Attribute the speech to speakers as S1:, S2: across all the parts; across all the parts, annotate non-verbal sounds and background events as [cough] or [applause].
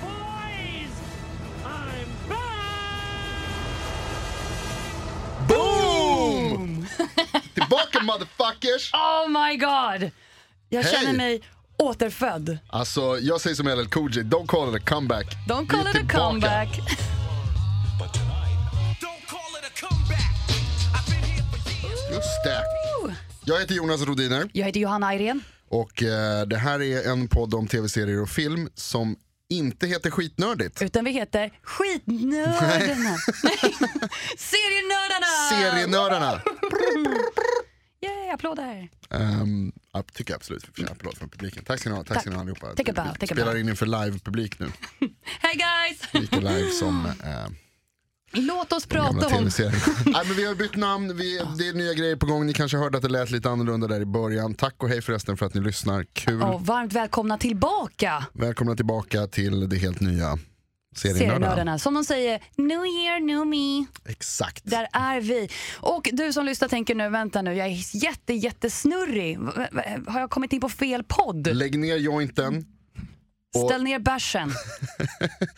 S1: boys, I'm back!
S2: Boom! Tillbaka motherfuckers!
S3: Oh my god! Jag
S2: Hej.
S3: känner mig återfödd.
S2: Alltså jag säger som LL Cool J, don't call it a comeback.
S3: Don't
S2: Vi
S3: call
S2: är
S3: it a
S2: tillbaka.
S3: comeback.
S4: Don't call it a comeback. I've been here for years.
S2: Just det. Jag heter Jonas Rodiner
S3: Jag heter Johanna Ayrén.
S2: och eh, det här är en podd om tv-serier och film som inte heter skitnördigt.
S3: Utan vi heter Skitnördarna. Nej. [laughs] Serienördarna!
S2: Serienördarna.
S3: Yay, applåder.
S2: Um, jag tycker absolut vi förtjänar applåd från publiken. Tack ska ni ha, tack ska ni ha allihopa.
S3: Take a bow, take a
S2: Vi spelar
S3: bow.
S2: in inför live-publik nu.
S3: Hey guys!
S2: Lika live som eh,
S3: Låt oss
S2: gamla
S3: prata om... [laughs]
S2: tv-serien. Nej, men vi har bytt namn, vi, det är nya grejer på gång. Ni kanske hörde att det lät lite annorlunda där i början. Tack och hej förresten för att ni lyssnar. Kul.
S3: Och varmt välkomna tillbaka
S2: Välkomna tillbaka till det helt nya Serienördarna.
S3: Serienördarna. Som de säger, new year, new me.
S2: Exakt.
S3: Där är vi. Och du som lyssnar tänker nu, vänta nu, jag är jätte, jättesnurrig. V- v- Har jag kommit in på fel podd?
S2: Lägg ner jointen, Och-
S3: Ställ
S2: [laughs]
S3: ner bärsen.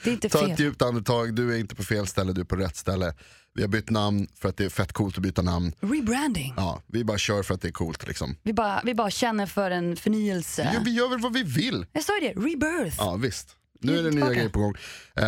S3: Det är inte
S2: ta ett
S3: fel.
S2: djupt andetag, du är inte på fel ställe, du är på rätt ställe. Vi har bytt namn för att det är fett coolt att byta namn.
S3: Rebranding.
S2: Ja, vi bara kör för att det är coolt liksom.
S3: Vi bara, vi bara känner för en
S2: Jo,
S3: förnyelse.
S2: vi gör väl vad vi vill.
S3: Jag sa ju det, rebirth.
S2: Ja visst. Nu är det nya
S3: Tillbaka.
S2: grejer på gång. Eh,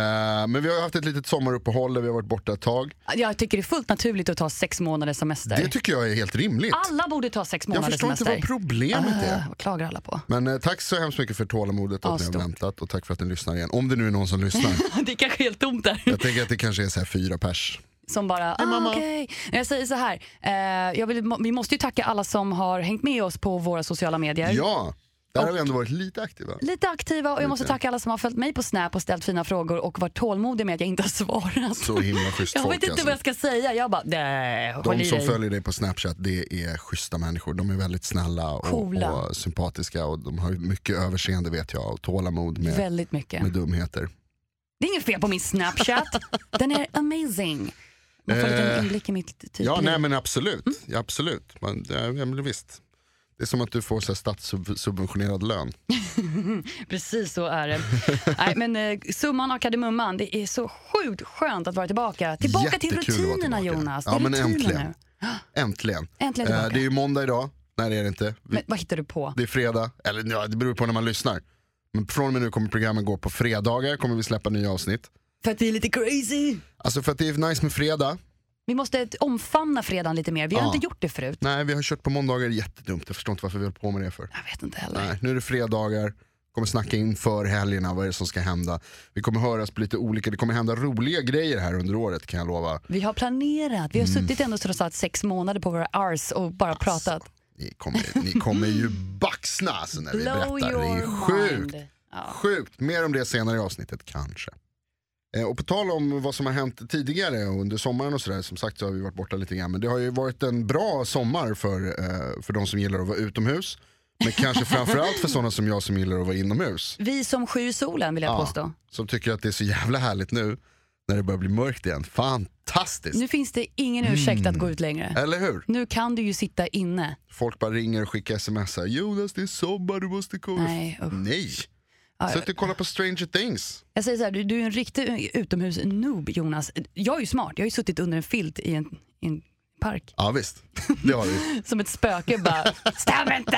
S2: men vi har haft ett litet sommaruppehåll där vi har varit borta ett tag.
S3: Jag tycker det är fullt naturligt att ta sex månaders semester.
S2: Det tycker jag är helt rimligt.
S3: alla borde ta sex
S2: Jag
S3: månaders
S2: förstår inte
S3: semester.
S2: vad problemet är.
S3: Öh, vad klagar alla på?
S2: Men eh, tack så hemskt mycket för tålamodet att
S3: Ja,
S2: ni har
S3: stort.
S2: väntat och tack för att ni lyssnar igen. Om det nu är någon som
S3: [laughs]
S2: lyssnar.
S3: [laughs] Det är kanske helt tomt där.
S2: Jag tänker att det kanske är så här fyra pers.
S3: Som bara, ah, okej. Jag säger så här, eh, jag vill, vi måste ju tacka alla som har hängt med oss på våra sociala medier.
S2: Ja, där har vi ändå varit lite aktiva.
S3: Lite aktiva och jag måste tacka alla som har följt mig på Snap och ställt fina frågor och varit tålmodiga med att jag inte har [laughs] svarat.
S2: Så himla schysst
S3: Jag
S2: folk
S3: vet inte
S2: alltså.
S3: vad jag ska säga. Jag bara, nej, håll
S2: De
S3: i
S2: som
S3: dig.
S2: följer dig på Snapchat det är schyssta människor. De är väldigt snälla och,
S3: Coola.
S2: och sympatiska och de har ju mycket överseende vet jag och tålamod med,
S3: Väldigt mycket.
S2: med dumheter.
S3: Det är inget fel på min Snapchat. Den är amazing. Man får en liten
S2: Eh,
S3: inblick i mitt typ.
S2: Ja, nej men absolut.
S3: Mm.
S2: Ja, absolut. Man, ja, ja, men visst. Det är som att du får så här statssubventionerad lön.
S3: Precis så är det. [laughs] nej, men eh, summan av kardemumman, det är så sjukt skönt att vara tillbaka. Tillbaka till
S2: Jättekul att vara
S3: rutinerna
S2: tillbaka.
S3: Jonas. Det
S2: Ja,
S3: är
S2: men
S3: rutiner
S2: äntligen.
S3: nu.
S2: Äntligen.
S3: Äntligen
S2: Eh,
S3: tillbaka.
S2: det är ju måndag idag. Nej det är det inte. Vi,
S3: Men vad hittar du på?
S2: Det är fredag. Eller ja, det beror på när man lyssnar. Men från och med nu kommer programmen gå på fredagar. Kommer vi släppa nya avsnitt.
S3: För att vi är lite crazy.
S2: Alltså för att det är nice med fredag.
S3: Vi måste t- omfamna fredagen lite mer. Vi har
S2: Ja.
S3: inte gjort det förut.
S2: Nej, vi har kört på måndagar, jättedumt. Jag förstår inte varför vi höll på med det för.
S3: Jag vet inte heller.
S2: Nej, nu är det fredagar, kommer snacka inför helgerna, vad är det som ska hända. Vi kommer höras på lite olika, det kommer hända roliga grejer här under året kan jag lova.
S3: Vi har planerat. Vi har
S2: Mm.
S3: suttit ändå trots allt sex månader på våra ars och bara
S2: Alltså,
S3: pratat.
S2: Ni kommer, ni kommer
S3: [laughs]
S2: ju baxna alltså, när vi
S3: Blow
S2: berättar. Det är
S3: your
S2: sjukt.
S3: mind. Ja.
S2: Sjukt, mer om det senare i avsnittet kanske. Eh, Och på tal om vad som har hänt tidigare och under sommaren och sådär, som sagt så har vi varit borta lite grann. Men det har ju varit en bra sommar för, eh, för de som gillar att vara utomhus. Men
S3: [laughs]
S2: kanske framförallt för sådana som jag som gillar att vara inomhus.
S3: Vi som sju i solen vill jag
S2: Ja.
S3: påstå.
S2: Som tycker att det är så jävla härligt nu när det börjar bli mörkt igen. Fantastiskt!
S3: Nu finns det ingen
S2: Mm.
S3: ursäkt att gå ut längre.
S2: Eller hur?
S3: Nu kan du ju sitta inne.
S2: Folk bara ringer och skickar sms. Här, Jonas det är sommar, du måste komma.
S3: Nej, usch.
S2: Nej.
S3: Ja,
S2: Sätt dig och kolla på Stranger Things.
S3: Jag säger så här, du, du är en riktig utomhus-noob Jonas. Jag är ju smart, jag har ju suttit under en filt i en, i en park.
S2: Ja visst, det har
S3: [laughs]
S2: vi.
S3: Som ett
S2: [laughs]
S3: spöke bara, stäm inte!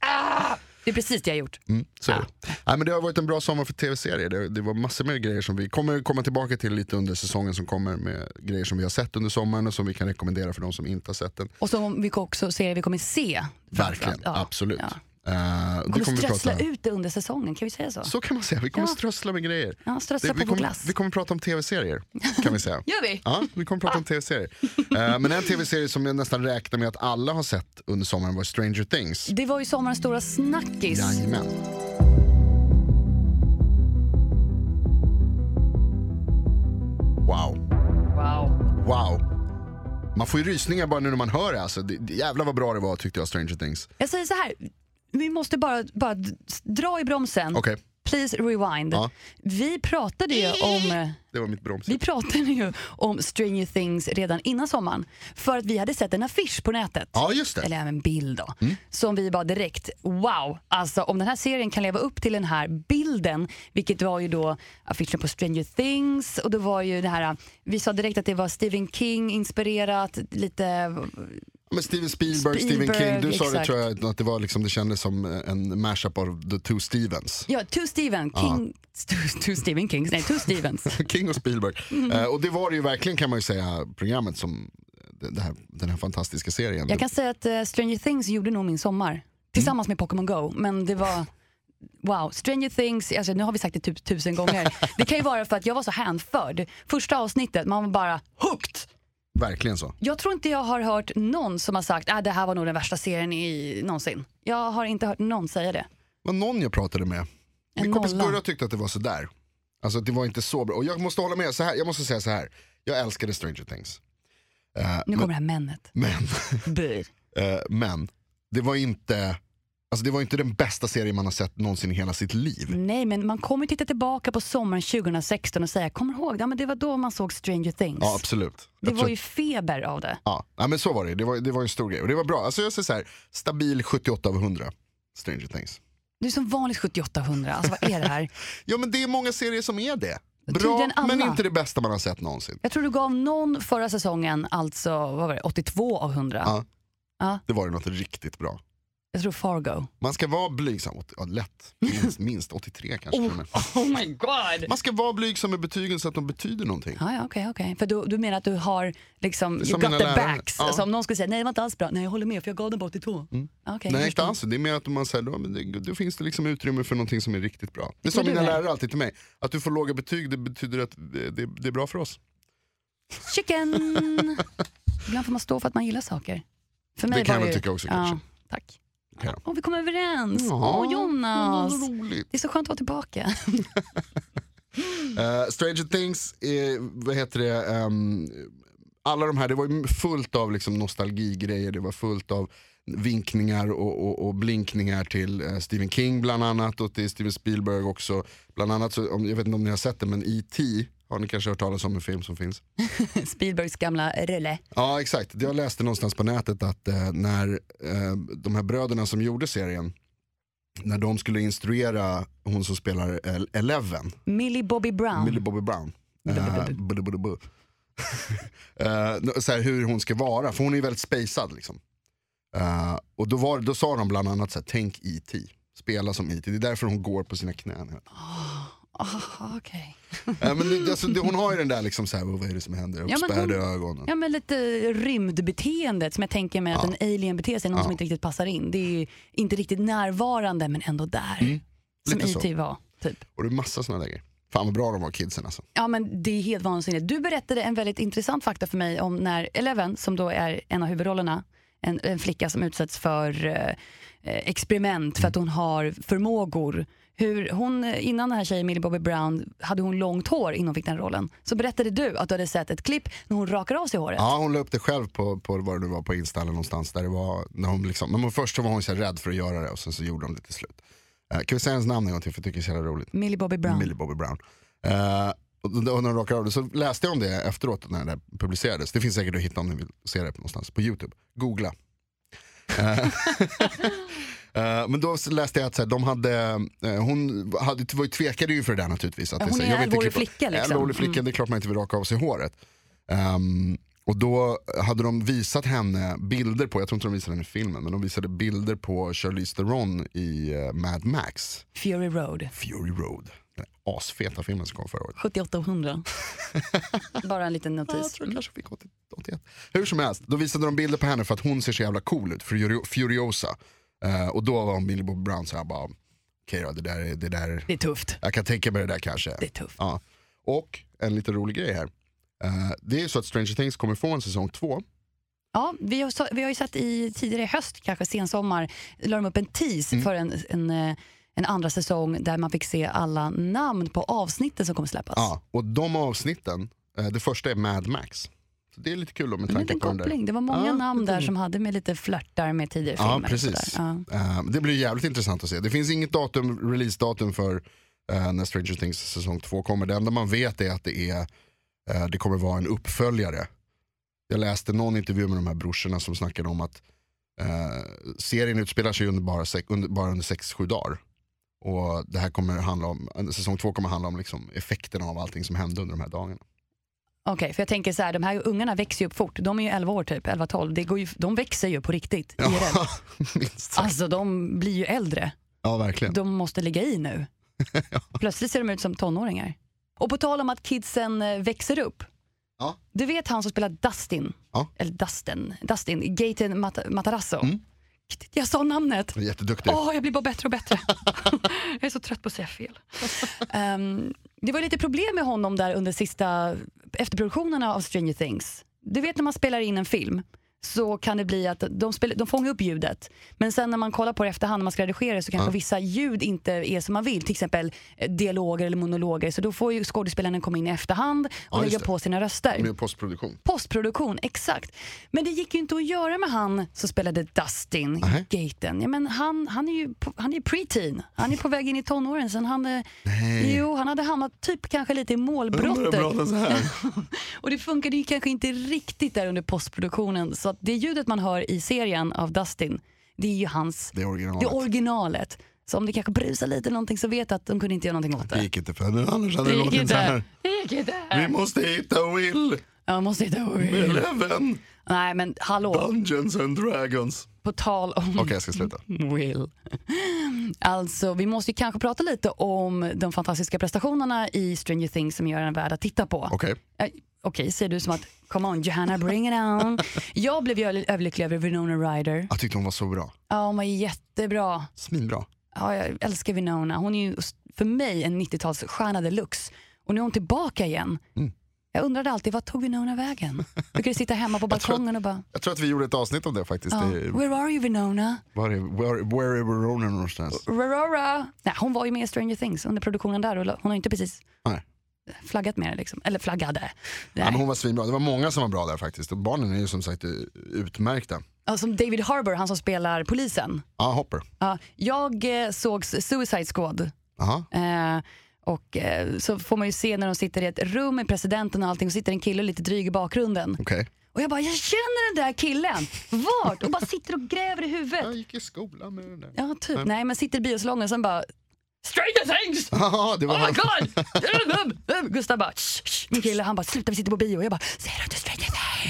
S3: Ah! Det är precis det jag har gjort.
S2: Mm, så är det. Nej, men det har varit en bra sommar för tv-serier. Det, det var massor med grejer som vi kommer komma tillbaka till lite under säsongen som kommer med grejer som vi har sett under sommaren och som vi kan rekommendera för de som inte har sett den.
S3: Och som vi också ser, vi kommer se.
S2: Verkligen,
S3: Ja,
S2: absolut.
S3: ja.
S2: Eh, det
S3: Vi kommer
S2: kommer vi
S3: strössla
S2: prata
S3: ut det under säsongen, kan vi säga så?
S2: Så kan man säga, vi kommer
S3: Ja.
S2: strössla med grejer.
S3: Ja, strössla
S2: Det-
S3: på
S2: vi,
S3: vår
S2: kommer,
S3: glass.
S2: vi kommer prata om tv-serier, kan vi säga.
S3: [laughs] Gör vi?
S2: Ja, vi kommer prata om tv-serier. Eh, men en tv-serie som jag nästan räknar med att alla har sett under sommaren var Stranger Things.
S3: Det var ju sommarens stora snackis.
S2: Jajamän. Man får ju rysningar bara nu när man hör det alltså. Det, det, jävlar vad bra det var tyckte jag, Stranger Things.
S3: Jag säger så här, vi måste bara, bara d- dra i bromsen.
S2: Okej,
S3: Please rewind.
S2: Ja.
S3: Vi pratade ju om
S2: det var mitt broms.
S3: vi pratade ju om Stranger Things redan innan sommaren. För att vi hade sett en affisch på nätet.
S2: Ja, Mm. just det.
S3: Eller även bild då. Som vi bara direkt, wow! Alltså om den här serien kan leva upp till den här bilden. Vilket var ju då affischen på Stranger Things. Och det var ju det här, vi sa direkt att det var Stephen King inspirerat. Lite
S2: Men Steven Spielberg, Stephen
S3: Spielberg,
S2: King. Du sa det
S3: exakt.
S2: tror jag att det var liksom, det kändes som en mashup av The Two Stevens.
S3: Ja, Two Steven, King, [laughs] two, two Stephen Kings, nej Two Stevens.
S2: [laughs] King och Spielberg.
S3: Mm.
S2: Eh, och det var det ju verkligen kan man ju säga, programmet som eh, det- det här, den här fantastiska serien.
S3: Jag kan säga att eh, Stranger Things gjorde nog min sommar. Tillsammans med Pokémon Go, men det var Wow, Stranger Things, alltså nu har vi sagt det typ tusen gånger. Det kan ju vara för att jag var så hänförd. Första avsnittet, man var bara hooked.
S2: Verkligen så.
S3: Jag tror inte jag har hört någon som har sagt att ah, det här var nog den värsta serien i någonsin. Jag har inte hört någon säga det.
S2: Det var någon jag pratade med.
S3: En
S2: Min kompis
S3: nolla.
S2: Gurra tyckte att det var sådär. Alltså att det var inte så bra. Och jag måste hålla med, så här, jag måste säga så här. Jag älskade Stranger Things. Eh,
S3: Nu kommer det här männet.
S2: Men, [laughs]
S3: Bur.
S2: eh, men det var inte Alltså det var inte den bästa serien man har sett någonsin i hela sitt liv.
S3: Nej, men man kommer ju titta tillbaka på sommaren 2016 och säga, kommer du ihåg, ja, men det var då man såg Stranger Things.
S2: Ja absolut.
S3: Det
S2: Jag tror-
S3: var ju feber av det.
S2: Ja, ja men så var det. Det var, det var en stor grej. Och det var bra. Alltså jag säger så här, stabil 78 av 100. Stranger Things.
S3: Du är som vanligt 7800. Alltså vad är
S2: [laughs]
S3: det här?
S2: Ja men det är många serier som är det. Bra
S3: Tydligen alla.
S2: men inte det bästa man har sett någonsin.
S3: Jag tror du gav någon förra säsongen, alltså vad var det, 82 av 100.
S2: Ja. Det var ju något riktigt bra.
S3: Jag tror Fargo.
S2: Man ska vara blygsam, Åt- ja, lätt,
S3: [laughs]
S2: minst, minst 83 kanske. till och med.
S3: Oh my god!
S2: Man ska vara blygsam med betygen så att de betyder någonting.
S3: Ja, ja, okej, okej. För du, du menar att du har liksom,
S2: är
S3: you
S2: som
S3: got the
S2: mina lärare.
S3: backs.
S2: Ja.
S3: Så om någon skulle säga, nej det var inte alls bra. Nej, jag håller med för jag gav den på 82. Mm.
S2: Nej inte alls, det är mer att man säger, då, men det- då finns det liksom utrymme för någonting som är riktigt bra. Det sa
S3: Men du
S2: mina
S3: är-
S2: lärare alltid till mig, att du får låga betyg det betyder att det, det, det är bra för oss. [laughs]
S3: Chicken! Ibland får man stå för att man gillar saker. För mig
S2: Det kan
S3: var
S2: jag
S3: ju-
S2: väl tycka också,
S3: ja,
S2: kanske.
S3: Tack.
S2: Okej då.
S3: Åh, vi kom överens.
S2: Ja.
S3: Åh, Jonas!
S2: Vad roligt.
S3: Det är så skönt att vara tillbaka. [laughs]
S2: Eh, Stranger Things, är, vad heter det, ehm, alla de här, det var ju fullt av liksom nostalgigrejer, det var fullt av vinkningar och, och, och blinkningar till eh, Stephen King bland annat och till Steven Spielberg också. Bland annat, så, om, jag vet inte om ni har sett det, men E.T. har ni kanske hört talas om en film som finns.
S3: Spielbergs gamla rulle.
S2: Ja exakt, Det jag läste någonstans på nätet att eh, när eh, de här bröderna som gjorde serien, när de skulle instruera hon som spelar El- Eleven,
S3: Millie Bobby Brown.
S2: Millie Bobby
S3: [laughs]
S2: Brown. Eh, budu, budu, bu. [laughs] Eh, nå- så här, hur hon ska vara, för hon är ju väldigt spacad. Liksom. Eh, och då, var, då sa de bland annat så här, tänk IT, spela som IT. Det är därför hon går på sina knän.
S3: Ah, okej.
S2: Eh, men det, alltså, det, hon har ju den där, liksom, så här, vad är det som händer?
S3: men
S2: Uppspärrade
S3: hon-
S2: ögon.
S3: Ja, men lite rymdbeteendet som jag tänker mig att en alien beter sig, någon som inte riktigt passar in. Det är ju inte riktigt närvarande men ändå där. Som
S2: Mm, lite så.
S3: IT var. Typ.
S2: Och det är massa såna där grejer. Fan vad bra de var kidsen alltså.
S3: Ja men det är helt vansinnigt. Du berättade en väldigt intressant fakta för mig om när Eleven, som då är en av huvudrollerna, en, en flicka som utsätts för eh, eh, experiment för att hon har förmågor. Hur hon, eh, innan den här tjejen Millie Bobby Brown hade hon långt hår innan hon fick den rollen. Så berättade du att du hade sett ett klipp när hon rakar av sig håret.
S2: Ja, hon la upp det själv på, på vad det nu var på Insta eller någonstans. Där det var, när hon liksom, men först så var hon så här rädd för att göra det och sen så gjorde hon det till slut. Eh, kan vi säga hennes namn en gång till för jag tycker det är så jävla roligt.
S3: Millie Bobby Brown.
S2: Millie Bobby Brown. Eh, och då- då, när de rakar av det så läste jag om det efteråt när det publicerades. Det finns säkert att hitta om ni vill se det någonstans på Youtube. Googla. Eh, [laughs] eh, men då så läste jag att så här, de hade, eh, hon hade, var ju tvekade ju för det där naturligtvis. Att
S3: Ja,
S2: det
S3: hon
S2: så här,
S3: är
S2: jag vill inte
S3: äldre
S2: klippa-
S3: flicka, liksom.
S2: Äldre flicka, det är klart man inte vill raka av sig håret. Ehm, och då hade de visat henne bilder på, jag tror inte de visade henne i filmen, men de visade bilder på Charlize Theron i eh, Mad Max.
S3: Fury Road.
S2: Fury Road. Den här asfeta filmen som kom förra året. [laughs]
S3: 7800. Bara en liten
S2: Ja, jag
S3: notis.
S2: tror jag kanske fick 80 81. Hur som helst, då visade de bilder på henne för att hon ser så jävla cool ut, Furio- Furiosa. Eh, och då var hon Billy Bob Brown så jag bara, okej då, det där, är- det där,
S3: Det är tufft.
S2: jag kan tänka mig det där kanske.
S3: Det är tufft.
S2: Ja. Och en lite rolig grej här. Eh, det är ju så att Stranger Things kommer få en säsong två.
S3: Ja, vi, har, så- vi har ju sett i tidigare i höst, kanske sensommar, la de upp en tease
S2: Mm.
S3: för en, en, eh, en andra säsong där man fick se alla namn på avsnitten som kommer släppas.
S2: Ja. Och de avsnitten, eh, det första är Mad Max. Så det är lite kul då med
S3: En
S2: tanke
S3: liten
S2: på den där.
S3: koppling. Det var många
S2: Ja,
S3: namn
S2: lite-
S3: där som hade med lite flörtar med tidigare
S2: Ja,
S3: filmer. och
S2: precis.
S3: sådär. Ja.
S2: Eh, det blir jävligt intressant att se. Det finns inget datum, releasedatum för eh, när Stranger Things säsong 2 kommer. Det enda man vet är att det, är, eh, det kommer vara en uppföljare. Jag läste någon intervju med de här brorsorna som snackade om att eh, serien utspelar sig under bara, sex, under, bara under 6-7 dagar. Och det här kommer handla om, säsong 2 kommer handla om liksom effekterna av allting som hände under de här dagarna.
S3: Okej, för jag tänker så här, de här ungarna växer ju upp fort. De är ju 11 år typ, 11-12. Det går ju, de växer ju på riktigt. i
S2: [laughs]
S3: det.
S2: minst sagt.
S3: Alltså de blir ju äldre.
S2: Ja, verkligen.
S3: De måste ligga
S2: [laughs]
S3: i nu. Plötsligt ser de ut som tonåringar. Och på tal om att kidsen eh, växer upp.
S2: Ja.
S3: Du vet han som spelar Dustin?
S2: Ja.
S3: Eller Dustin, Dustin Gaten Mat- Matarazzo.
S2: Mm.
S3: Jag sa namnet!
S2: Jätteduktig.
S3: Åh, jag blir bara bättre
S2: [laughs]
S3: och bättre. jag är så trött på att säga fel. Ehm, det var lite problem med honom där under sista efterproduktionerna av Stranger Things. Du vet när man spelar in en film så kan det bli att de, spel, de fångar upp ljudet. Men sen när man kollar på det efterhand när man ska redigera så kanske vissa ljud inte är som man vill. Till exempel eh, dialoger eller monologer. Så då får ju skådespelarna komma in i efterhand och
S2: Ja, just
S3: lägga
S2: det.
S3: på sina röster.
S2: Med postproduktion.
S3: Postproduktion, exakt. Men det gick ju inte att göra med han som spelade Dustin
S2: Nej.
S3: Gaten. Ja, men han, han är ju på- han är ju preteen. Han är på väg in i tonåren. Sen han, eh, jo, han hade hamnat typ kanske lite i målbrottet. [laughs] Och det funkade ju kanske inte riktigt där under postproduktionen. Så att det ljudet man hör i serien av Dustin, det är ju hans,
S2: Det är originalet.
S3: det är originalet. Så om det kanske brusar lite eller någonting så vet att de kunde inte göra någonting åt
S2: Det
S3: det.
S2: gick inte för henne, annars hade det
S3: Det
S2: låtit
S3: gick
S2: så här.
S3: inte. Det gick
S2: Vi
S3: inte.
S2: måste hitta Will,
S3: Jag måste hitta Will.
S2: Eleven,
S3: Nej men hallå,
S2: Dungeons and Dragons.
S3: på tal om
S2: Okej, jag ska sluta.
S3: Will. Alltså, vi måste ju kanske prata lite om de fantastiska prestationerna i Stranger Things som gör den värd att titta på. Eh,
S2: Okej,
S3: Okej, säger du som att come on Johanna, bring it
S2: [laughs]
S3: on. jag blev ju över- överlycklig över Winona Ryder.
S2: jag tyckte hon var så bra.
S3: Ja, hon var jättebra.
S2: Svinbra.
S3: Ja, jag älskar Winona. Hon är ju för mig en 90-talsstjärna deluxe. Och nu är hon tillbaka igen.
S2: Mm.
S3: Jag undrade alltid, vad tog
S2: [laughs]
S3: Winona vägen? Brukade sitta hemma på
S2: tror att- Eh,
S3: balkongen och bara,
S2: Jag tror att vi gjorde ett avsnitt om det faktiskt.
S3: ja,
S2: Det,
S3: where are you Winona?
S2: var är, where, where är Ronan någonstans?
S3: Rorora. Nej, hon var ju med i Stranger Things under produktionen där och hon har inte precis
S2: Nej.
S3: flaggat med det. Liksom. Eller flaggade. Nej.
S2: Ja, men hon var svinbra. Det var många som var bra där faktiskt. Och barnen är ju som sagt eh, utmärkta.
S3: Ja, Som David Harbour, han som spelar polisen.
S2: Ja, Hopper.
S3: Ja, jag eh, såg Suicide Squad.
S2: Aha.
S3: Eh, och eh, så får man ju se när de sitter i ett rum med presidenten och allting och sitter en kille lite dryg i bakgrunden.
S2: Okej.
S3: Och jag bara, jag känner den där killen! Vart? Och bara sitter och gräver i huvudet.
S2: Jag gick i skolan med den [laughs] där.
S3: Ja, typ. Nej, men sitter i biosalongen och sen bara Stranger Things!
S2: Haha, det var
S3: Oh my god! Um, um, um. Gustav bara, shh, shh. min kille han bara, sluta vi sitter på bio. Och jag bara, säger du inte Stranger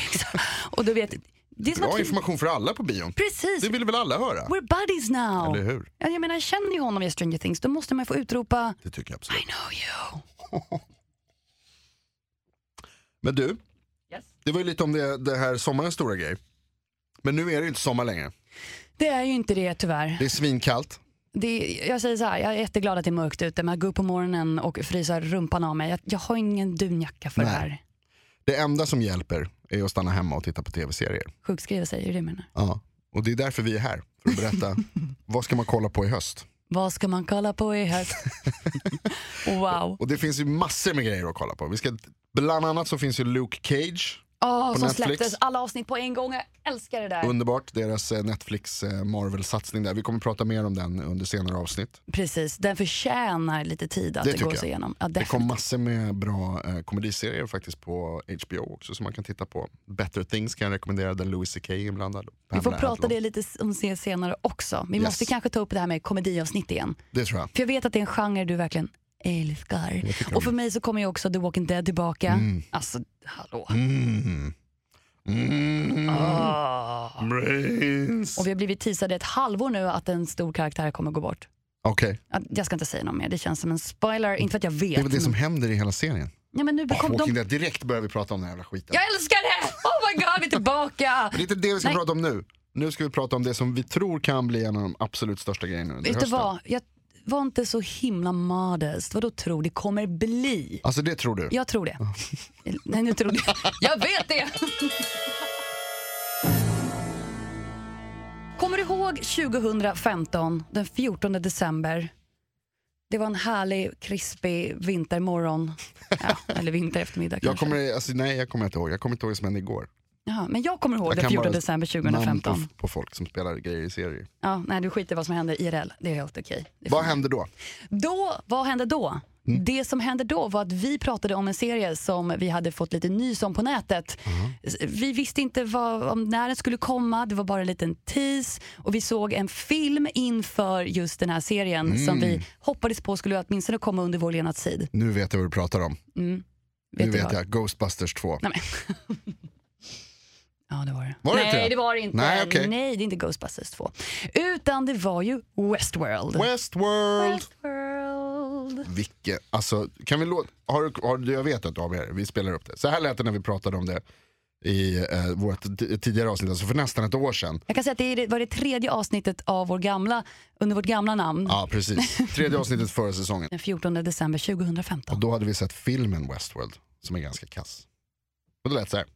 S3: Things? Och du vet, det är som
S2: bra
S3: att vi,
S2: information för alla på bion.
S3: precis,
S2: Det ville väl alla höra?
S3: we're buddies now.
S2: Eller hur?
S3: Ja, Jag menar, jag känner ju honom i Stranger Things, då måste man ju få utropa
S2: Det tycker jag absolut.
S3: I know you.
S2: Men du, det var ju lite om det, det här sommarens stora grej. Men nu är det ju inte sommar längre.
S3: Det är ju inte det tyvärr.
S2: Det är svinkallt.
S3: Det, jag säger så här, jag är jätteglad att det är mörkt ute, men jag går upp på morgonen och fryser rumpan av mig. Jag, jag har ingen dunjacka för
S2: Nej.
S3: det här.
S2: Det enda som hjälper är att stanna hemma och titta på tv-serier.
S3: Sjukskriva sig, är det det du menar?
S2: Ja. Och det är därför vi är här, för att berätta vad ska man kolla på i höst.
S3: Vad ska man kolla på i höst?
S2: [laughs]
S3: wow.
S2: Och det finns ju massor med grejer att kolla på. Vi ska, bland annat så finns ju Luke Cage,
S3: Åh,
S2: På
S3: som
S2: Netflix.
S3: släpptes alla avsnitt på en gång. Jag älskar det där.
S2: underbart, deras eh, Netflix eh, Marvel-satsning där. Vi kommer prata mer om den under senare avsnitt.
S3: Precis, den förtjänar lite tid att
S2: Det
S3: det
S2: tycker
S3: gå sig
S2: jag.
S3: igenom. Ja,
S2: Det kom
S3: definitivt.
S2: massor med bra eh, komediserier faktiskt på HBO också som man kan titta på. Better Things kan jag rekommendera där Louis CK är inblandad.
S3: Vi får
S2: Pamela
S3: prata
S2: Adlon.
S3: det lite s- om det senare också. Vi
S2: Yes.
S3: måste kanske ta upp det här med komediavsnitt igen.
S2: Det tror jag.
S3: För jag vet att det är en genre du verkligen älskar.
S2: tycker
S3: Och för mig så kommer ju också The Walking Dead tillbaka. Alltså, hallå.
S2: Mm. Mm. Brains.
S3: Ah. Och vi har blivit teasade ett halvår nu att en stor karaktär kommer gå bort.
S2: Okej,
S3: Att- Jag ska inte säga något mer, det känns som en spoiler. Inte för att jag
S2: det är väl
S3: vet.
S2: det som
S3: men...
S2: händer i hela serien.
S3: ja, men nu
S2: Oh,
S3: kom
S2: Walking
S3: de...
S2: Dead, direkt börjar vi prata om den här jävla skiten.
S3: Jag älskar det! Oh my god, vi är tillbaka!
S2: Men det är inte det vi ska
S3: Nej.
S2: prata om nu. Nu ska vi prata om det som vi tror kan bli en av de absolut största grejerna under
S3: Vet du
S2: hösten.
S3: vad? Jag var inte så himla modest. Vadå tror det kommer bli?
S2: Alltså det tror du?
S3: Jag tror det. [laughs] Nej, nu trodde jag. Jag vet det! Kommer du ihåg 2015, den 14 december, Det var en härlig, krispig vintermorgon. Ja, eller vinter eftermiddag
S2: [laughs] Jag
S3: kanske.
S2: kommer, alltså, nej, jag kommer inte ihåg. Jag kommer inte ihåg vad som hände igår.
S3: Jaha, men jag kommer ihåg
S2: Jag
S3: det
S2: kan
S3: 14
S2: bara
S3: december
S2: Namn
S3: 2015.
S2: på, på folk som spelar grejer i serier.
S3: Ja, nej, du skiter i vad som händer IRL. Det är helt okej. Det får-
S2: Vad hände då?
S3: Då, vad hände då?
S2: Mm.
S3: Det som hände då var att vi pratade om en serie som vi hade fått lite nys om på nätet.
S2: Mm.
S3: Vi visste inte vad, om när den skulle komma, det var bara en liten tease. Och vi såg en film inför just den här serien
S2: Mm.
S3: som vi hoppades på skulle åtminstone komma under vår levnadstid.
S2: Nu vet jag vad du pratar om.
S3: Vet
S2: nu
S3: du
S2: vet
S3: vad?
S2: jag. Ghostbusters 2.
S3: Nej, men. [laughs] ja, det var det.
S2: Var det inte
S3: Nej,
S2: det?
S3: det var det inte.
S2: Nej, okej.
S3: Nej, det är inte Ghostbusters 2. Utan det var ju Westworld.
S2: Westworld!
S3: Westworld.
S2: Vilke, alltså, kan vi låta, har, du- har, du- jag vet att du har med det, vi spelar upp det. Så här lät det när vi pratade om det i eh, vårt t- tidigare avsnitt, alltså för nästan ett år sedan.
S3: Jag kan säga att det är- det var det tredje avsnittet av vår gamla, under vårt gamla namn.
S2: Ja,
S3: [laughs]
S2: precis. Tredje avsnittet förra säsongen.
S3: Den 14 december 2015.
S2: Och då hade vi sett filmen Westworld, som är ganska kass. Och det lät så här.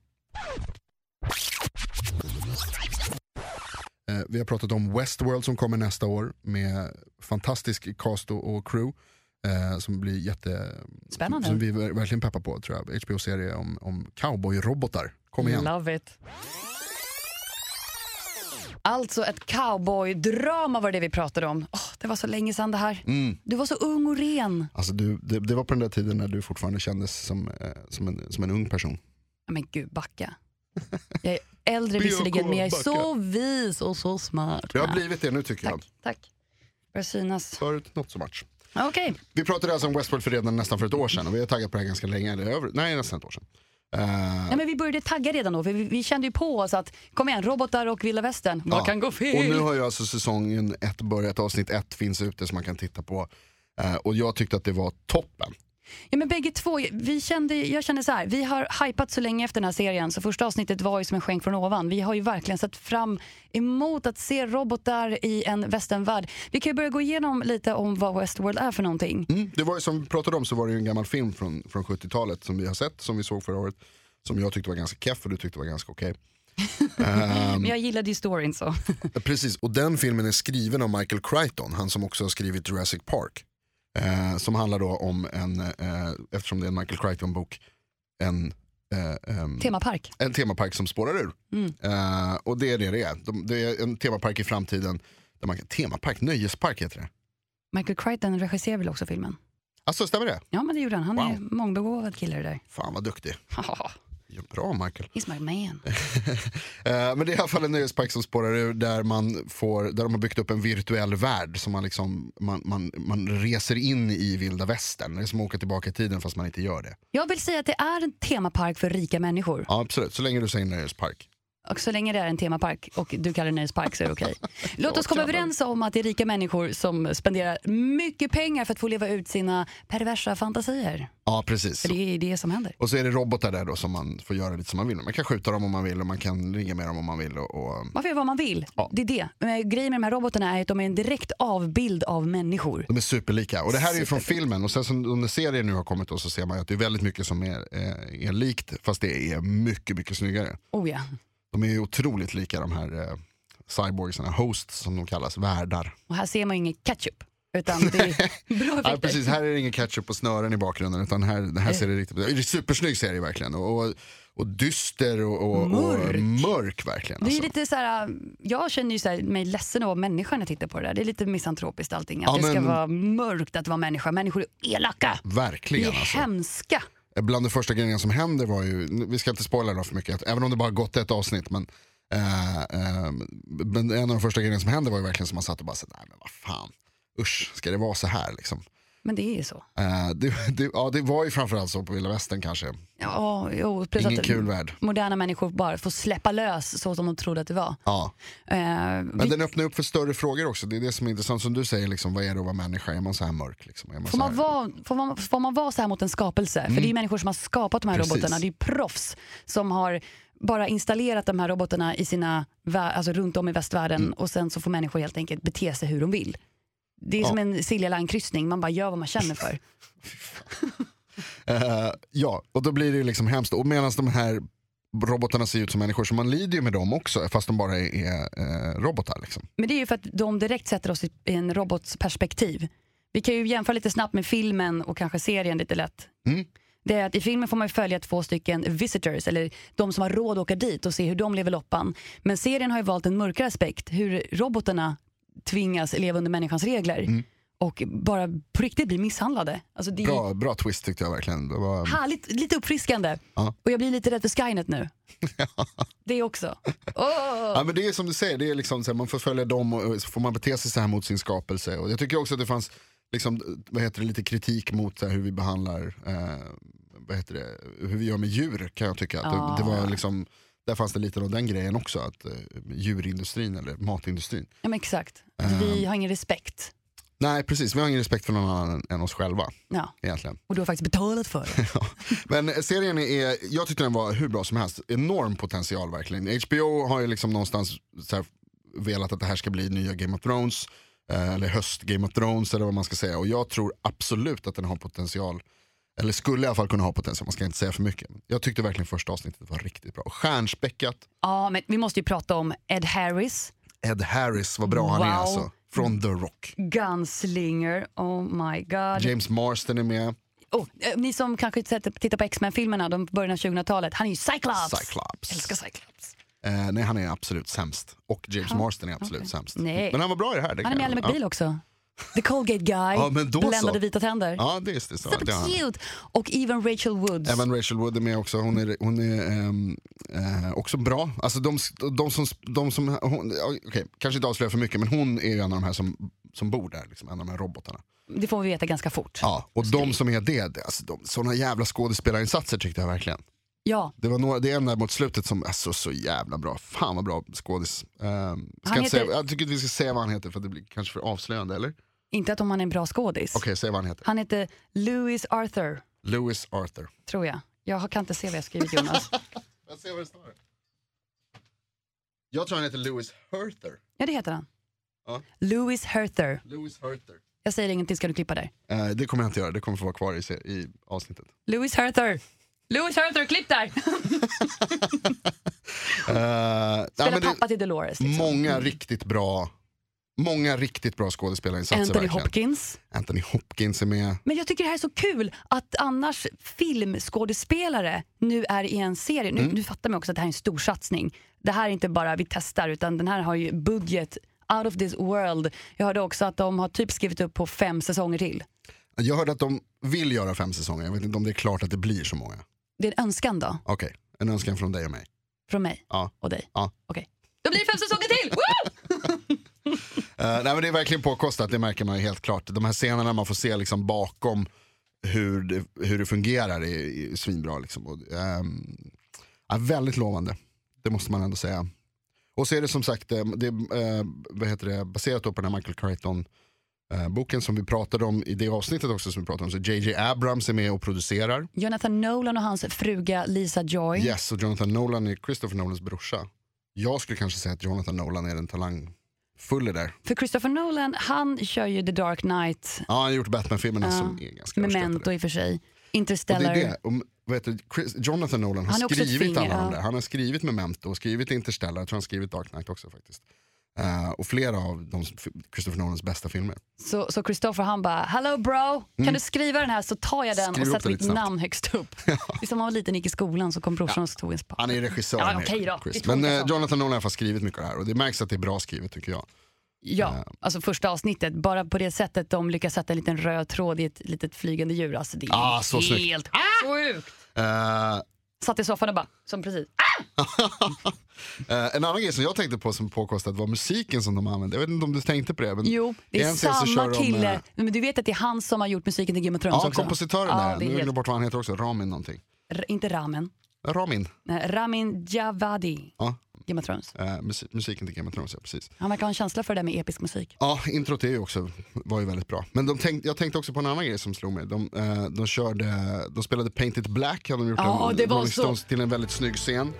S2: Eh, Vi har pratat om Westworld som kommer nästa år med fantastisk cast och och crew. eh, Som blir jätte...
S3: Spännande.
S2: Som vi ver- verkligen peppar på tror jag. HBO-serie om, om cowboyrobotar. Kom igen.
S3: Love it. Alltså ett cowboydrama var det vi pratade om. Åh, det var så länge sedan det här.
S2: Mm.
S3: Du var så ung och ren.
S2: Alltså du, det, det var på den där tiden när du fortfarande kändes som, eh, som, en, som en ung person.
S3: Ja, Men gud, backa. Jag är
S2: [laughs]
S3: äldre
S2: Be
S3: visserligen,
S2: cool,
S3: men jag är
S2: backa.
S3: så vis och så smart.
S2: Det har blivit det nu tycker jag.
S3: Tack, tack. Börjar synas.
S2: Förut, not so much.
S3: Okej.
S2: Vi pratade alltså om Westworld för redan nästan för ett år sedan och vi har taggat på det här ganska länge. Eller över, nej, nästan ett år sedan. Eh,
S3: Nej, men vi började tagga redan då, för vi, vi kände ju på oss att kom igen, robotar och vilda västern, vad
S2: ja.
S3: kan gå fel?
S2: Och nu har ju alltså säsongen ett börjat, avsnitt ett finns ute som man kan titta på. Eh, och jag tyckte att det var toppen.
S3: Ja, men bägge två, vi kände, jag kände så här, vi har hypat så länge efter den här serien så första avsnittet var ju som en skänk från ovan. Vi har ju verkligen sett fram emot att se robotar i en västernvärld. Vi kan ju börja gå igenom lite om vad Westworld är för någonting.
S2: Mm. Det var ju som vi pratade om så var det ju en gammal film från, från 70-talet som vi har sett, som vi såg förra året. Som jag tyckte var ganska keff och du tyckte var ganska
S3: [laughs]
S2: okej. Eh,
S3: Men jag gillade ju storyn så.
S2: Ja, Precis, och den filmen är skriven av Michael Crichton, han som också har skrivit Jurassic Park. Eh, som handlar då om en, eh, eftersom det är en Michael Crichton-bok, en, eh, ehm,
S3: Temapark.
S2: en temapark som spårar ur. Eh, och det är det det är. De, det är en temapark i framtiden. Där man kan, temapark, nöjespark heter det.
S3: Michael Crichton regisserar väl också filmen?
S2: Alltså stämmer det?
S3: Ja, men det gjorde han. Han är
S2: Wow.
S3: mångbegåvad kille det där.
S2: Fan vad duktig.
S3: Haha,
S2: Ja, Bra Michael.
S3: He's my man.
S2: Eh, Men det är i alla fall en nöjespark som spårar ur där, man får, där de har byggt upp en virtuell värld som man, liksom, man, man, man reser in i vilda västern. Det är som att åka tillbaka i tiden fast man inte gör det.
S3: Jag vill säga att det är en temapark för rika människor.
S2: Ja, absolut, så länge du säger nöjespark.
S3: Och så länge det är en temapark och du kallar det nöjespark så är
S2: [laughs]
S3: det okej. Låt oss komma överens om att det är rika människor som spenderar mycket pengar för att få leva ut sina perversa fantasier.
S2: Ja, precis.
S3: För det är det som händer.
S2: Och så är det robotar där då som man får göra lite som man vill. Man kan skjuta dem om man vill och man kan ringa med dem om man vill. Och, och... eh,
S3: Man får göra vad man vill.
S2: Ja.
S3: Det är det. Men grejen med de här robotarna är att de är en direkt avbild av människor.
S2: De är superlika. Och det här är ju från filmen. Och sen som under serien nu har kommit då, så ser man ju att det är väldigt mycket som är, eh, är likt fast det är mycket, mycket snyggare.
S3: Oh ja.
S2: De är ju otroligt lika de här eh, cyborgsarna, hosts som de kallas, värdar.
S3: Och här ser man ju ingen ketchup. Utan det är [laughs] bra
S2: [laughs] Ja,
S3: effekter.
S2: precis, här är det ingen ketchup på snören i bakgrunden utan här,
S3: Eh.
S2: här ser det riktigt, det är en supersnygg serie verkligen. Och, och, och dyster och, och,
S3: Mörk.
S2: och mörk verkligen.
S3: det är
S2: Alltså.
S3: lite så här, jag känner ju så här, mig ledsen att vara människa när jag tittar på det där. Det är lite misantropiskt allting. Att
S2: Ja,
S3: det ska
S2: men-
S3: vara mörkt att vara människa. Människor är elaka. Vi är
S2: Verkligen alltså.
S3: hemska.
S2: Bland de första grejerna som händer var ju, vi ska inte spoila då för mycket, att- även om det bara gått ett avsnitt. Men, eh, eh, men en av de första grejerna som hände var ju verkligen som man satt och bara, så, nej men vad fan, usch, ska det vara så här liksom?
S3: Men det är ju så.
S2: Eh, det, det, ja, det var ju framförallt så på vilda västern kanske.
S3: Ja, jo, plus
S2: Ingen
S3: att
S2: kul värld.
S3: moderna människor bara får släppa lös så som de trodde att det var.
S2: Ja.
S3: Eh,
S2: Men
S3: vi,
S2: den öppnar upp för större frågor också. Det är det som är intressant. Som du säger, liksom, vad är det att vara människa? Är man så här mörk? Liksom? Är man
S3: får,
S2: så här... Mm.
S3: man vara, får, man, får man vara så här mot en skapelse? För det är ju människor som har skapat de här
S2: Precis.
S3: robotarna. Det är ju proffs som har bara installerat de här robotarna i sina, vä- alltså runt om i västvärlden
S2: Mm.
S3: och sen så får människor helt enkelt bete sig hur de vill. Det är som en Silja Line-kryssning, man bara gör vad man känner för.
S2: Eh, ja, och då blir det ju liksom hemskt. Och medan de här robotarna ser ut som människor, så man lider ju med dem också, fast de bara är, är eh, robotar. Liksom.
S3: Men det är ju för att de direkt sätter oss i i en robots perspektiv. Vi kan ju jämföra lite snabbt med filmen och kanske serien lite lätt.
S2: Mm.
S3: Det är att i filmen får man ju följa två stycken visitors, eller de som har råd att åka dit och se hur de lever loppan. Men serien har ju valt en mörkare aspekt, hur robotarna tvingas leva under människans regler.
S2: Mm.
S3: Och bara på riktigt blir misshandlade. Alltså det är
S2: Bra, bra twist tyckte jag verkligen. Det var,
S3: härligt, lite uppfriskande.
S2: Ja.
S3: Och jag blir lite rädd för
S2: [laughs]
S3: Skynet nu. Det också. Åh!
S2: Ja, men det är som du säger, det är liksom, så här, man får följa dem och och så får man bete sig så här mot sin skapelse. Och jag tycker också att det fanns liksom, vad heter det, lite kritik mot så här, hur vi behandlar, eh, vad heter det, hur vi gör med djur kan jag tycka. Att
S3: Ja.
S2: det, det var liksom, där fanns det lite av den grejen också, att eh, djurindustrin eller matindustrin.
S3: Ja, men exakt.
S2: Ehm.
S3: Att Vi har ingen respekt.
S2: Nej precis, vi har ingen respekt för någon annan än- än oss själva
S3: Ja.
S2: egentligen.
S3: Och du har faktiskt betalat för det.
S2: Men serien är, jag tyckte den var hur bra som helst, enorm potential verkligen. HBO har ju liksom någonstans så här velat att det här ska bli nya Game of Thrones, eh, eller höst Game of Thrones eller vad man ska säga. Och jag tror absolut att den har potential, eller skulle i alla fall kunna ha potential, man ska inte säga för mycket. Jag tyckte verkligen första avsnittet var riktigt bra. Stjärnspäckat,
S3: [laughs] Ja, men vi måste ju prata om Ed Harris,
S2: Ed Harris, vad bra han är
S3: Wow.
S2: alltså. Från The Rock.
S3: Gunslinger, oh my god.
S2: James Marsden är med,
S3: Oh, eh, ni som kanske inte sett- tittar på X-Men-filmerna, de på början av 2000-talet, han är ju Cyclops.
S2: Cyclops.
S3: Älskar Cyclops.
S2: Eh, nej han är absolut sämst. Och James Marsden är absolut sämst.
S3: Nej.
S2: Men han var bra i det här. Det
S3: Han är
S2: kan
S3: med i Ally
S2: jag-
S3: McBeal också. The Colgate
S2: [laughs]
S3: Guy,
S2: Ja, men då så.
S3: bländade vita tänder.
S2: Ja, ja det är just det. Så.
S3: Super
S2: det har han.
S3: cute! Och even Rachel Woods.
S2: Även Rachel Wood är med också, hon är, hon är ehm, eh, också bra. Alltså de, de som, de som hon, ja, okej, kanske inte avslöjar för mycket men hon är ju en av de här som, som bor där, liksom, en av de här robotarna.
S3: Det får vi veta ganska fort.
S2: Ja, och de som är det, det alltså, de, sådana jävla skådespelarinsatser tyckte jag verkligen.
S3: Ja,
S2: Det, var några, det är en där mot slutet som, alltså så jävla bra, fan vad bra skådis. Ehm, ska
S3: Han
S2: inte säga,
S3: heter-
S2: jag tycker inte vi ska säga vad han heter för att det blir kanske för avslöjande, eller? Okej,
S3: inte att om han är en bra skådis.
S2: säg vad han heter.
S3: Han heter Louis Arthur,
S2: Louis Arthur.
S3: tror jag. Jag har- kan inte se vad jag
S2: [laughs]
S3: skrivit Jonas.
S2: Jag ser vad det står. Jag tror han heter Louis Herther.
S3: ja, det heter han.
S2: Ja.
S3: Louis Herther.
S2: Louis Herther.
S3: Jag säger ingenting, ska du klippa där.
S2: Eh, det kommer jag inte göra, det kommer få vara kvar i, se- i avsnittet.
S3: Louis Herther. Louis Herther, klipp där!
S2: Eh, ja,
S3: Spelar
S2: men det-
S3: pappa till Dolores. Liksom.
S2: många riktigt bra Många riktigt bra skådespelarinsatser.
S3: Anthony
S2: verkligen.
S3: Hopkins.
S2: Anthony Hopkins är med.
S3: Men jag tycker det här är så kul att annars filmskådespelare nu är i en serie.
S2: Mm.
S3: Nu, nu fattar man också att det här är en stor satsning. Det här är inte bara vi testar utan den här har ju budget out of this world. Jag hörde också att de har typ skrivit upp på fem säsonger till.
S2: Jag hörde att de vill göra fem säsonger, jag vet inte om det är klart att det blir så många.
S3: Det är en önskan då,
S2: Okej, en önskan från dig och mig.
S3: från mig
S2: Ja.
S3: och dig.
S2: Ja.
S3: Okej. Då blir det fem säsonger till!
S2: [laughs]
S3: Woo!
S2: Eh, nej, men det är verkligen påkostat, det märker man ju helt klart. De här scenerna man får se liksom bakom hur det, hur det fungerar är, är svinbra. Liksom. Och, ehm, ja, väldigt lovande, det måste man ändå säga. Och så är det som sagt eh, det, är, eh, vad heter det, baserat då på den här Michael Crichton-boken som vi pratade om i det avsnittet också som vi pratade om. Så JJ Abrams är med och producerar.
S3: Jonathan Nolan och hans fruga Lisa Joy.
S2: Yes, och Jonathan Nolan är Christopher Nolans brorsa. Jag skulle kanske säga att Jonathan Nolan är den talangfulle där.
S3: För Christopher Nolan, han kör ju The Dark Knight,
S2: Ja, han har gjort Batman-filmerna
S3: Ja.
S2: som alltså, är ganska
S3: Memento
S2: överskattade.
S3: i och för sig,
S2: Och det
S3: Interstellar.
S2: är det. Och, vad heter, det? Chris, Jonathan Nolan har
S3: Han är också ett
S2: skrivit
S3: finger,
S2: alla de
S3: ja.
S2: där. Han har skrivit Memento, och skrivit Interstellar, jag tror han har skrivit Dark Knight också faktiskt. Eh, och flera av de, Christopher Nolans bästa filmer.
S3: Så, så Christopher han bara, hello bro, kan du skriva den här så tar jag
S2: Mm.
S3: den
S2: Skriv upp
S3: och sätter
S2: den
S3: mitt
S2: lite snabbt."
S3: namn högst upp.
S2: [laughs]
S3: Det är som när man var liten och gick i skolan så kom brorsan och tog ens papper.
S2: Han är regissör.
S3: Ja,
S2: med
S3: okej då. Vi
S2: Chris.
S3: tolkar
S2: Men eh,
S3: så.
S2: Jonathan Nolan har i alla fall skrivit mycket av det här och det märks att det är bra skrivet tycker jag.
S3: Ja, alltså första avsnittet, bara på det sättet de lyckas sätta en liten röd tråd i ett litet flygande djur. Alltså det är
S2: Ah, så snyggt. Ah!
S3: helt sjukt.
S2: Eh,
S3: Satt i soffan och bara, som precis. Ah!
S2: eh, en annan grej som jag tänkte på som påkostat var musiken som de använde. Jag vet inte om du tänkte på det? Men
S3: Jo, det
S2: i
S3: är
S2: en scen så
S3: samma
S2: kör de, eh,
S3: kille. Men du vet att det är han som har gjort musiken till Game of Thrones
S2: Ja,
S3: också?
S2: kompositören
S3: Ja,
S2: där.
S3: det
S2: Nu har
S3: är
S2: jag
S3: helt,
S2: glömt bort vad han heter också, Ramin någonting.
S3: R- inte Ramen.
S2: Ramin,
S3: Nej, Eh, Ramin Djawadi,
S2: ja.
S3: Game of Thrones.
S2: Eh, musi- musiken till Game of Thrones, ja precis.
S3: Han verkar ha en känsla för det där med episk musik.
S2: Ja, introt är ju också, var ju väldigt bra. Men de tänk, jag tänkte också på en annan grej som slog mig. De, eh, de, körde, de spelade Painted Black, hade de gjort
S3: Ja,
S2: en,
S3: det var
S2: Rolling
S3: så-
S2: Stones till en väldigt snygg scen.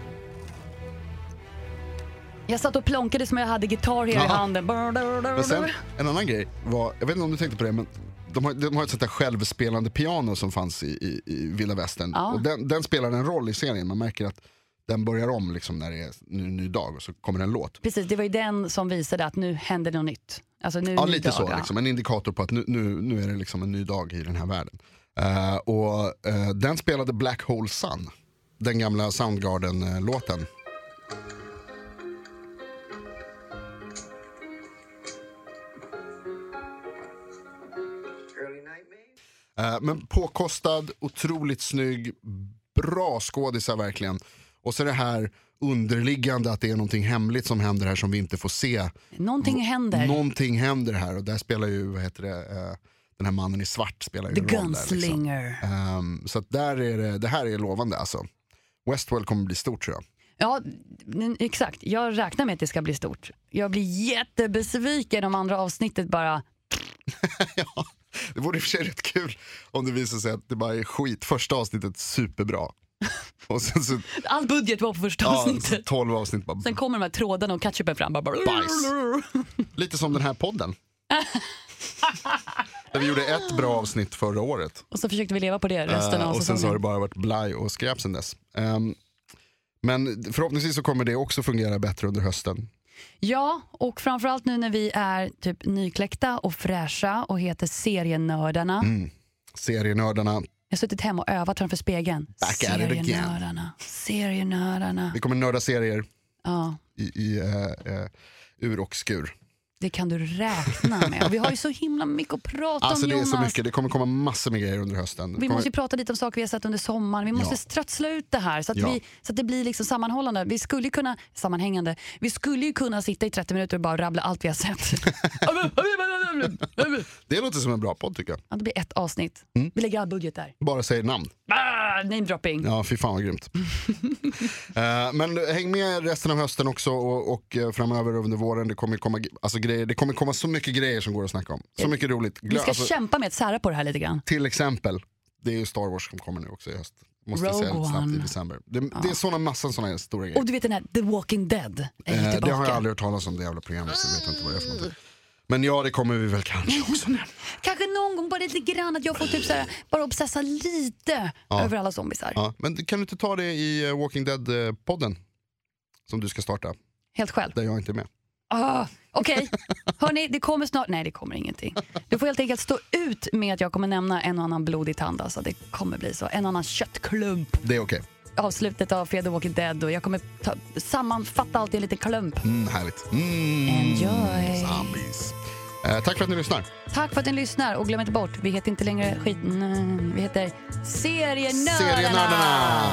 S3: Jag satt och plonkade som jag hade gitarr här i
S2: Ja.
S3: handen.
S2: Men sen, en annan grej var, jag vet inte om du tänkte på det, men de har, de har ett sånt där självspelande piano som fanns i, i, i Vilda Västern.
S3: Ja.
S2: Och den, den spelar en roll i serien, man märker att den börjar om liksom när det är ny, ny dag och så kommer en låt.
S3: Precis, det var ju den som visade att nu händer något nytt. Alltså nu är
S2: Ja,
S3: det ny
S2: lite
S3: dag,
S2: så.
S3: ja.
S2: Liksom. En indikator på att nu, nu, nu är det liksom en ny dag i den här världen. Eh, och eh, Den spelade Black Hole Sun, den gamla Soundgarden-låten. Eh, Men påkostad, otroligt snygg, bra skådisar verkligen. Och så det här underliggande att det är någonting hemligt som händer här som vi inte får se.
S3: Någonting händer.
S2: Någonting händer här och där spelar ju, vad heter det, eh, den här mannen i svart spelar ju
S3: The
S2: en roll där. Liksom.
S3: Gunslinger.
S2: Ehm, så att där är det, det här är lovande alltså. Westworld kommer bli stort tror jag. [laughs]
S3: Ja, n- exakt. Jag räknar med att det ska bli stort. Jag blir jättebesviken om andra avsnittet bara...
S2: ja, det vore i och för sig rätt kul om det visar sig att det bara är skit. Första avsnittet
S3: [laughs]
S2: superbra. Och sen så,
S3: All budget var på första
S2: ja,
S3: avsnittet.
S2: 12 avsnitt bara
S3: Sen kommer de här trådarna och ketchupen fram. Bara, bara,
S2: Bajs. Lite som den här podden.
S3: [laughs]
S2: Där vi gjorde ett bra avsnitt förra året.
S3: Och så försökte vi leva på det resten
S2: Eh,
S3: av
S2: och sen så har det
S3: säsongen.
S2: bara varit blaj och skräp sen dess. Ehm, men förhoppningsvis så kommer det också fungera bättre under hösten.
S3: Ja, och framförallt nu när vi är typ nykläckta och fräscha och heter Serienördarna.
S2: Mm. Serienördarna,
S3: Jag har suttit hemma och övat framför spegeln.
S2: Back at it again.
S3: Serienördarna. Serienördarna.
S2: vi kommer nörda serier
S3: Ja,
S2: i, i eh, eh, ur och skur.
S3: det kan du räkna med. Och Vi har ju så himla mycket att prata
S2: Alltså
S3: om
S2: det är
S3: Jonas.
S2: så mycket, det kommer komma massor med grejer under hösten. Det
S3: Vi
S2: kommer-
S3: måste ju prata lite om saker vi har sett under sommaren. Vi måste
S2: Ja.
S3: strötsla ut det här så att,
S2: Ja.
S3: vi, så att det blir liksom sammanhållande. Vi skulle ju kunna, sammanhängande. Vi skulle ju kunna sitta i 30 minuter och bara rabbla allt vi
S2: [laughs]
S3: har sett.
S2: Det låter som en bra podd tycker jag.
S3: ja, det blir ett avsnitt.
S2: Mm.
S3: Vi lägger all budget där.
S2: Bara säger namn.
S3: Ah, name dropping.
S2: Ja, fy fan vad
S3: [laughs]
S2: grymt. Eh, men häng med resten av hösten också och, och eh, framöver under våren. Det kommer, komma, g- alltså, grejer, det kommer komma så mycket grejer som går att snacka om. Så mycket roligt. Glö-
S3: Eh, Vi ska
S2: alltså,
S3: kämpa med att sära på det här lite grann.
S2: till exempel, det är ju Star Wars som kommer nu också i höst. Måste jag säga
S3: Rogue
S2: lite snabbt i
S3: One.
S2: december. Det, det är såna massan såna stora grejer.
S3: Och du vet den här The Walking Dead är ju
S2: Eh,
S3: tillbaka.
S2: det har jag aldrig hört talas om det jävla programmet så jag vet inte vad det är för någonting. Men ja, det kommer vi väl
S3: [laughs]
S2: kanske också nämna.
S3: Kanske någon gång bara lite grann att jag får typ så här, bara obsessa lite över alla zombisar.
S2: Ja, men kan du inte ta det i eh, Walking Dead-podden? Som du ska starta,
S3: Helt själv.
S2: där jag inte är med.
S3: Ah, Okej, hörni, det kommer snart... Nej, det kommer ingenting. Du får helt enkelt stå ut med att jag kommer nämna en och annan blodig tand. Alltså, det kommer bli så. En och annan köttklump.
S2: Det är okej.
S3: Avslutet av Fear the Walking Dead. Och jag kommer ta, sammanfatta allt i en liten klump.
S2: Mm, härligt. Mm.
S3: Enjoy.
S2: Zombies. Eh, tack för att ni lyssnar.
S3: Tack för att ni lyssnar. Och glöm inte bort, vi heter inte längre skit... nej, Vi heter Serienördarna.
S2: Serienördarna!